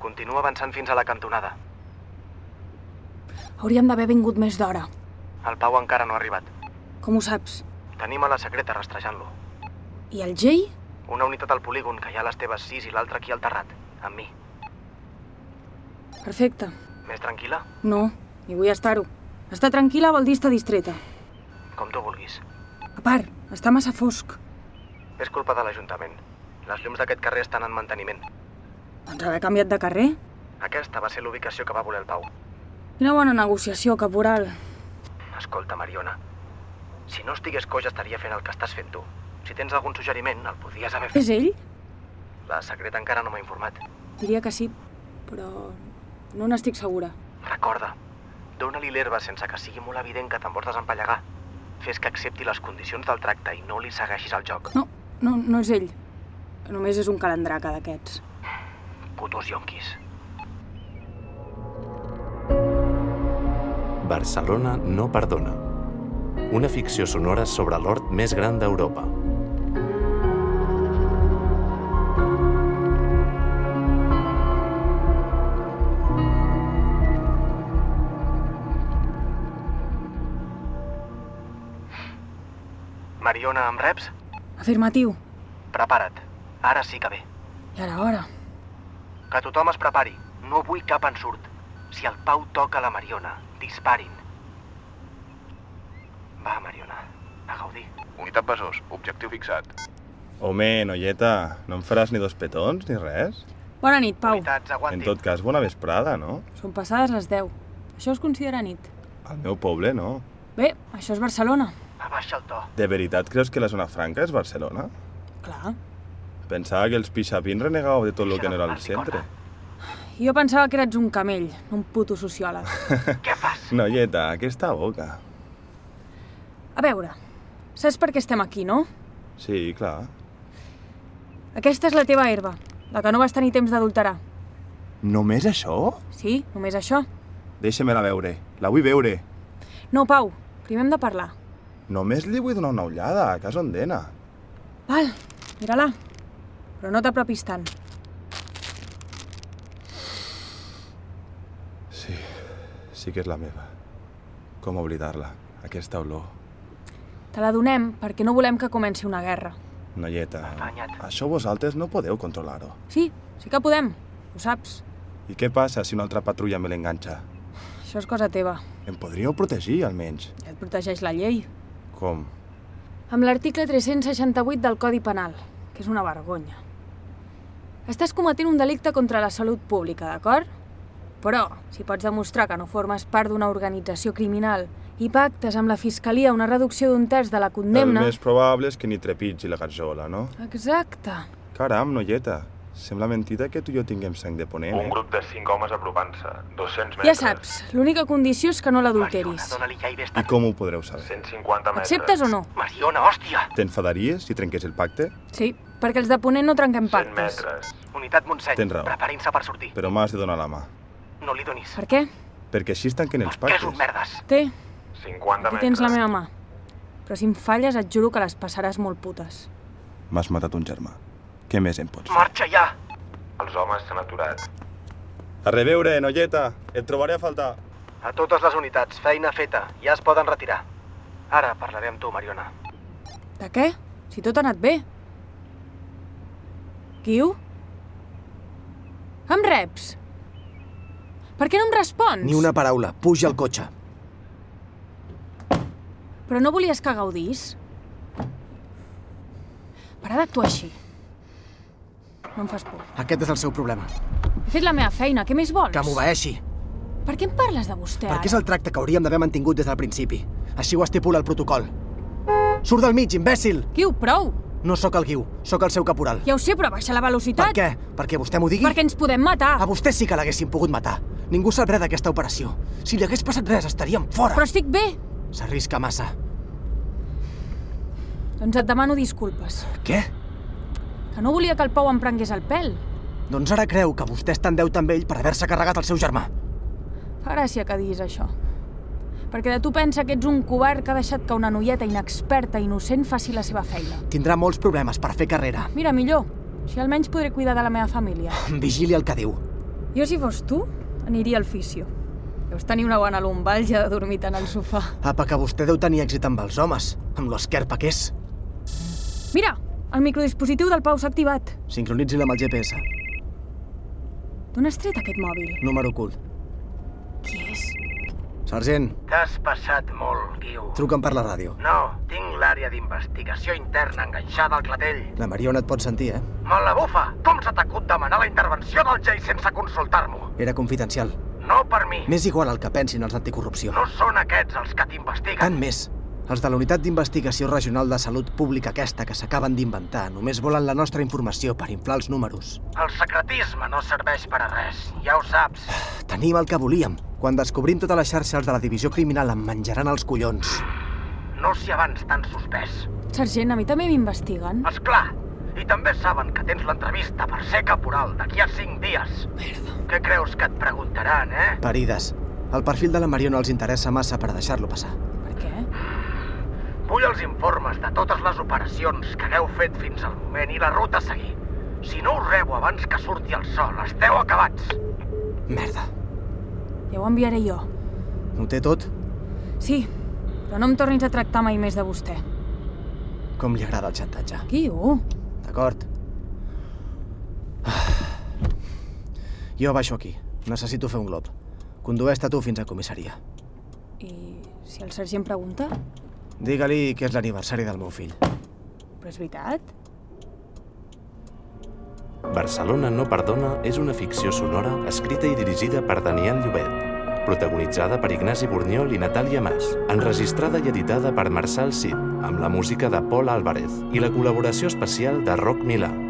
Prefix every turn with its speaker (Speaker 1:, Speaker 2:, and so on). Speaker 1: Continua avançant fins a la cantonada.
Speaker 2: Hauríem d'haver vingut més d'hora.
Speaker 1: El Pau encara no ha arribat.
Speaker 2: Com ho saps?
Speaker 1: Tenim a la secreta rastrejant-lo.
Speaker 2: I el Jay?
Speaker 1: Una unitat al polígon que hi ha a les teves sis i l'altra aquí al terrat, amb mi.
Speaker 2: Perfecte.
Speaker 1: Més tranquil·la?
Speaker 2: No, i vull estar-ho. Estar tranquil·la vol dir estar distreta.
Speaker 1: Com tu vulguis.
Speaker 2: A part, està massa fosc.
Speaker 1: És culpa de l'Ajuntament. Les llums d'aquest carrer estan en manteniment.
Speaker 2: Doncs haver canviat de carrer?
Speaker 1: Aquesta va ser l'ubicació que va voler el Pau.
Speaker 2: Quina bona negociació, caporal.
Speaker 1: Escolta, Mariona, si no estigués coix estaria fent el que estàs fent tu. Si tens algun suggeriment, el podries haver fet.
Speaker 2: És ell?
Speaker 1: La secreta encara no m'ha informat.
Speaker 2: Diria que sí, però no n'estic segura.
Speaker 1: Recorda, dóna-li l'herba sense que sigui molt evident que te'n vols desempallegar. Fes que accepti les condicions del tracte i no li segueixis el joc.
Speaker 2: No, no, no és ell. Només és un calendraca d'aquests.
Speaker 1: Putos yonquis.
Speaker 3: Barcelona no perdona. Una ficció sonora sobre l'hort més gran d'Europa.
Speaker 1: Mariona, amb reps?
Speaker 2: Afirmatiu.
Speaker 1: Prepara't. Ara sí que ve.
Speaker 2: I ara, hora.
Speaker 1: Que tothom es prepari. No vull cap ensurt. Si el Pau toca la Mariona, disparin. Va, Mariona, a gaudir.
Speaker 4: Unitat Besòs, objectiu fixat.
Speaker 5: Home, noieta, no em faràs ni dos petons ni res?
Speaker 2: Bona nit, Pau.
Speaker 1: Unitats,
Speaker 5: En
Speaker 1: aguantin.
Speaker 5: tot cas, bona vesprada, no?
Speaker 2: Són passades les 10. Això es considera nit.
Speaker 5: Al meu poble, no.
Speaker 2: Bé, això és Barcelona.
Speaker 1: Abaixa el to.
Speaker 5: De veritat creus que la zona franca és Barcelona?
Speaker 2: Clar.
Speaker 5: Pensava que els pixapins renegàveu de tot el que no era el centre.
Speaker 2: Jo pensava que eres un camell, no un puto sociòleg.
Speaker 1: Què fas?
Speaker 5: Noieta, aquesta boca.
Speaker 2: A veure, saps per què estem aquí, no?
Speaker 5: Sí, clar.
Speaker 2: Aquesta és la teva herba, la que no vas tenir temps d'adulterar.
Speaker 5: Només això?
Speaker 2: Sí, només això.
Speaker 5: Deixa-me-la veure. La vull veure.
Speaker 2: No, Pau, primer hem de parlar.
Speaker 5: Només li vull donar una ullada, a casa on d'ena.
Speaker 2: Val, mira-la. Però no t'apropis tant.
Speaker 5: Sí, sí que és la meva. Com oblidar-la, aquesta olor.
Speaker 2: Te la donem perquè no volem que comenci una guerra.
Speaker 5: Noieta,
Speaker 1: Afanya't.
Speaker 5: això vosaltres no podeu controlar-ho.
Speaker 2: Sí, sí que podem, ho saps.
Speaker 5: I què passa si una altra patrulla me l'enganxa?
Speaker 2: Això és cosa teva.
Speaker 5: Em podríeu protegir, almenys.
Speaker 2: Et protegeix la llei.
Speaker 5: Com?
Speaker 2: Amb l'article 368 del Codi Penal, que és una vergonya. Estàs cometent un delicte contra la salut pública, d'acord? Però, si pots demostrar que no formes part d'una organització criminal i pactes amb la Fiscalia una reducció d'un terç de la condemna...
Speaker 5: El més probable és que ni trepitgi la garjola, no?
Speaker 2: Exacte.
Speaker 5: Caram, noieta, sembla mentida que tu i jo tinguem sang de ponent,
Speaker 4: Un
Speaker 5: eh?
Speaker 4: grup de 5 homes apropant-se, 200 metres.
Speaker 2: Ja saps, l'única condició és que no
Speaker 1: Mariona,
Speaker 2: l'adulteris.
Speaker 1: dóna-li ja i vés
Speaker 5: I com ho podreu saber?
Speaker 4: 150 metres.
Speaker 2: Acceptes o no?
Speaker 1: Mariona, hòstia!
Speaker 5: T'enfadaries si trenqués el pacte?
Speaker 2: Sí, perquè els de Ponent no trenquem
Speaker 4: 100
Speaker 2: pactes.
Speaker 4: metres.
Speaker 1: Unitat Montseny,
Speaker 5: Tens raó.
Speaker 1: preparin-se per sortir.
Speaker 5: Però m'has de donar la mà.
Speaker 1: No li donis.
Speaker 2: Per què?
Speaker 5: Perquè així es tanquen els
Speaker 1: Que és un
Speaker 5: pactes.
Speaker 1: merdes.
Speaker 2: Té,
Speaker 4: 50
Speaker 2: aquí
Speaker 4: metres.
Speaker 2: tens la meva mà. Però si em falles et juro que les passaràs molt putes.
Speaker 5: M'has matat un germà. Què més em pots fer?
Speaker 1: Marxa ja!
Speaker 4: Els homes s'han aturat.
Speaker 5: A reveure, noieta! Et trobaré a faltar.
Speaker 1: A totes les unitats, feina feta. Ja es poden retirar. Ara parlaré amb tu, Mariona.
Speaker 2: De què? Si tot ha anat bé. Guiu? Em reps? Per què no em respons?
Speaker 6: Ni una paraula. Puja al cotxe.
Speaker 2: Però no volies que gaudís? Para d'actuar així. No em fas por.
Speaker 6: Aquest és el seu problema.
Speaker 2: He fet la meva feina, què més vols?
Speaker 6: Que m'obeeixi.
Speaker 2: Per què em parles de vostè
Speaker 6: Perquè és
Speaker 2: ara?
Speaker 6: el tracte que hauríem d'haver mantingut des del principi. Així ho estipula el protocol. Surt del mig, imbècil!
Speaker 2: Guiu, prou!
Speaker 6: No sóc el guiu, sóc el seu caporal.
Speaker 2: Ja ho sé, però baixa la
Speaker 6: Per
Speaker 2: velocitat.
Speaker 6: què? Perquè vostè m'ho digui?
Speaker 2: Perquè ens podem matar.
Speaker 6: A vostè sí que l'haguessin pogut matar. Ningú sabrà d'aquesta operació. Si li hagués passat res, estaríem fora.
Speaker 2: Però estic bé.
Speaker 6: S'arrisca massa.
Speaker 2: Doncs et demano disculpes.
Speaker 6: Què?
Speaker 2: Que no volia que el Pau em prengués el pèl.
Speaker 6: Doncs ara creu que vostè està en deute amb ell per haver-se carregat el seu germà.
Speaker 2: Fa gràcia que diguis això. Perquè de tu pensa que ets un covard que ha deixat que una noieta inexperta i innocent faci la seva feina.
Speaker 6: Tindrà molts problemes per fer carrera.
Speaker 2: Mira, millor. Així almenys podré cuidar de la meva família.
Speaker 6: Vigili el que diu.
Speaker 2: Jo, si fos tu, aniria al fisio. Deus tenir una bona lumbàlgia de dormir tant al sofà.
Speaker 6: Apa, que vostè deu tenir èxit amb els homes, amb l'esquerpa que és.
Speaker 2: Mira, el microdispositiu del Pau s'ha activat.
Speaker 6: Sincronitzi-la amb el GPS.
Speaker 2: D'on has tret aquest mòbil?
Speaker 6: Número ocult.
Speaker 2: Qui és?
Speaker 6: Sergent,
Speaker 1: T'has passat molt, Guiu.
Speaker 6: truca'm per la ràdio.
Speaker 1: No, tinc l'àrea d'investigació interna enganxada al clatell.
Speaker 6: La Mariona et pot sentir, eh?
Speaker 1: Me la bufa! Com s'ha t'acut demanar la intervenció del Jay sense consultar-m'ho?
Speaker 6: Era confidencial.
Speaker 1: No per mi.
Speaker 6: M'és igual el que pensin els d'anticorrupció.
Speaker 1: No són aquests els que t'investiguen.
Speaker 6: Tant més. Els de la Unitat d'Investigació Regional de Salut Pública aquesta que s'acaben d'inventar només volen la nostra informació per inflar els números.
Speaker 1: El secretisme no serveix per a res, ja ho saps.
Speaker 6: Tenim el que volíem. Quan descobrim tota la xarxa, els de la divisió criminal em menjaran els collons.
Speaker 1: No s'hi abans tan suspès.
Speaker 2: Sergent, a mi també m'investiguen.
Speaker 1: És clar. I també saben que tens l'entrevista per ser caporal d'aquí a cinc dies. Merda. Què creus que et preguntaran, eh?
Speaker 6: Parides. El perfil de la Mariona els interessa massa per deixar-lo passar.
Speaker 2: Per què?
Speaker 1: Vull els informes de totes les operacions que hagueu fet fins al moment i la ruta a seguir. Si no us rebo abans que surti el sol, esteu acabats.
Speaker 6: Merda.
Speaker 2: Ja ho enviaré jo.
Speaker 6: Ho té tot?
Speaker 2: Sí, però no em tornis a tractar mai més de vostè.
Speaker 6: Com li agrada el xantatge.
Speaker 2: Guiu,
Speaker 6: D'acord? Ah. Jo baixo aquí. Necessito fer un glob. Condueix-te tu fins a comissaria.
Speaker 2: i si el sergent pregunta?
Speaker 6: Digue-li que és l'aniversari del meu fill.
Speaker 2: Però és veritat?
Speaker 3: Barcelona no perdona és una ficció sonora escrita i dirigida per Daniel Llobet, protagonitzada per Ignasi Burniol i Natàlia Mas, enregistrada i editada per Marçal Cid, amb la música de Paul Álvarez i la col·laboració especial de Roc Milà.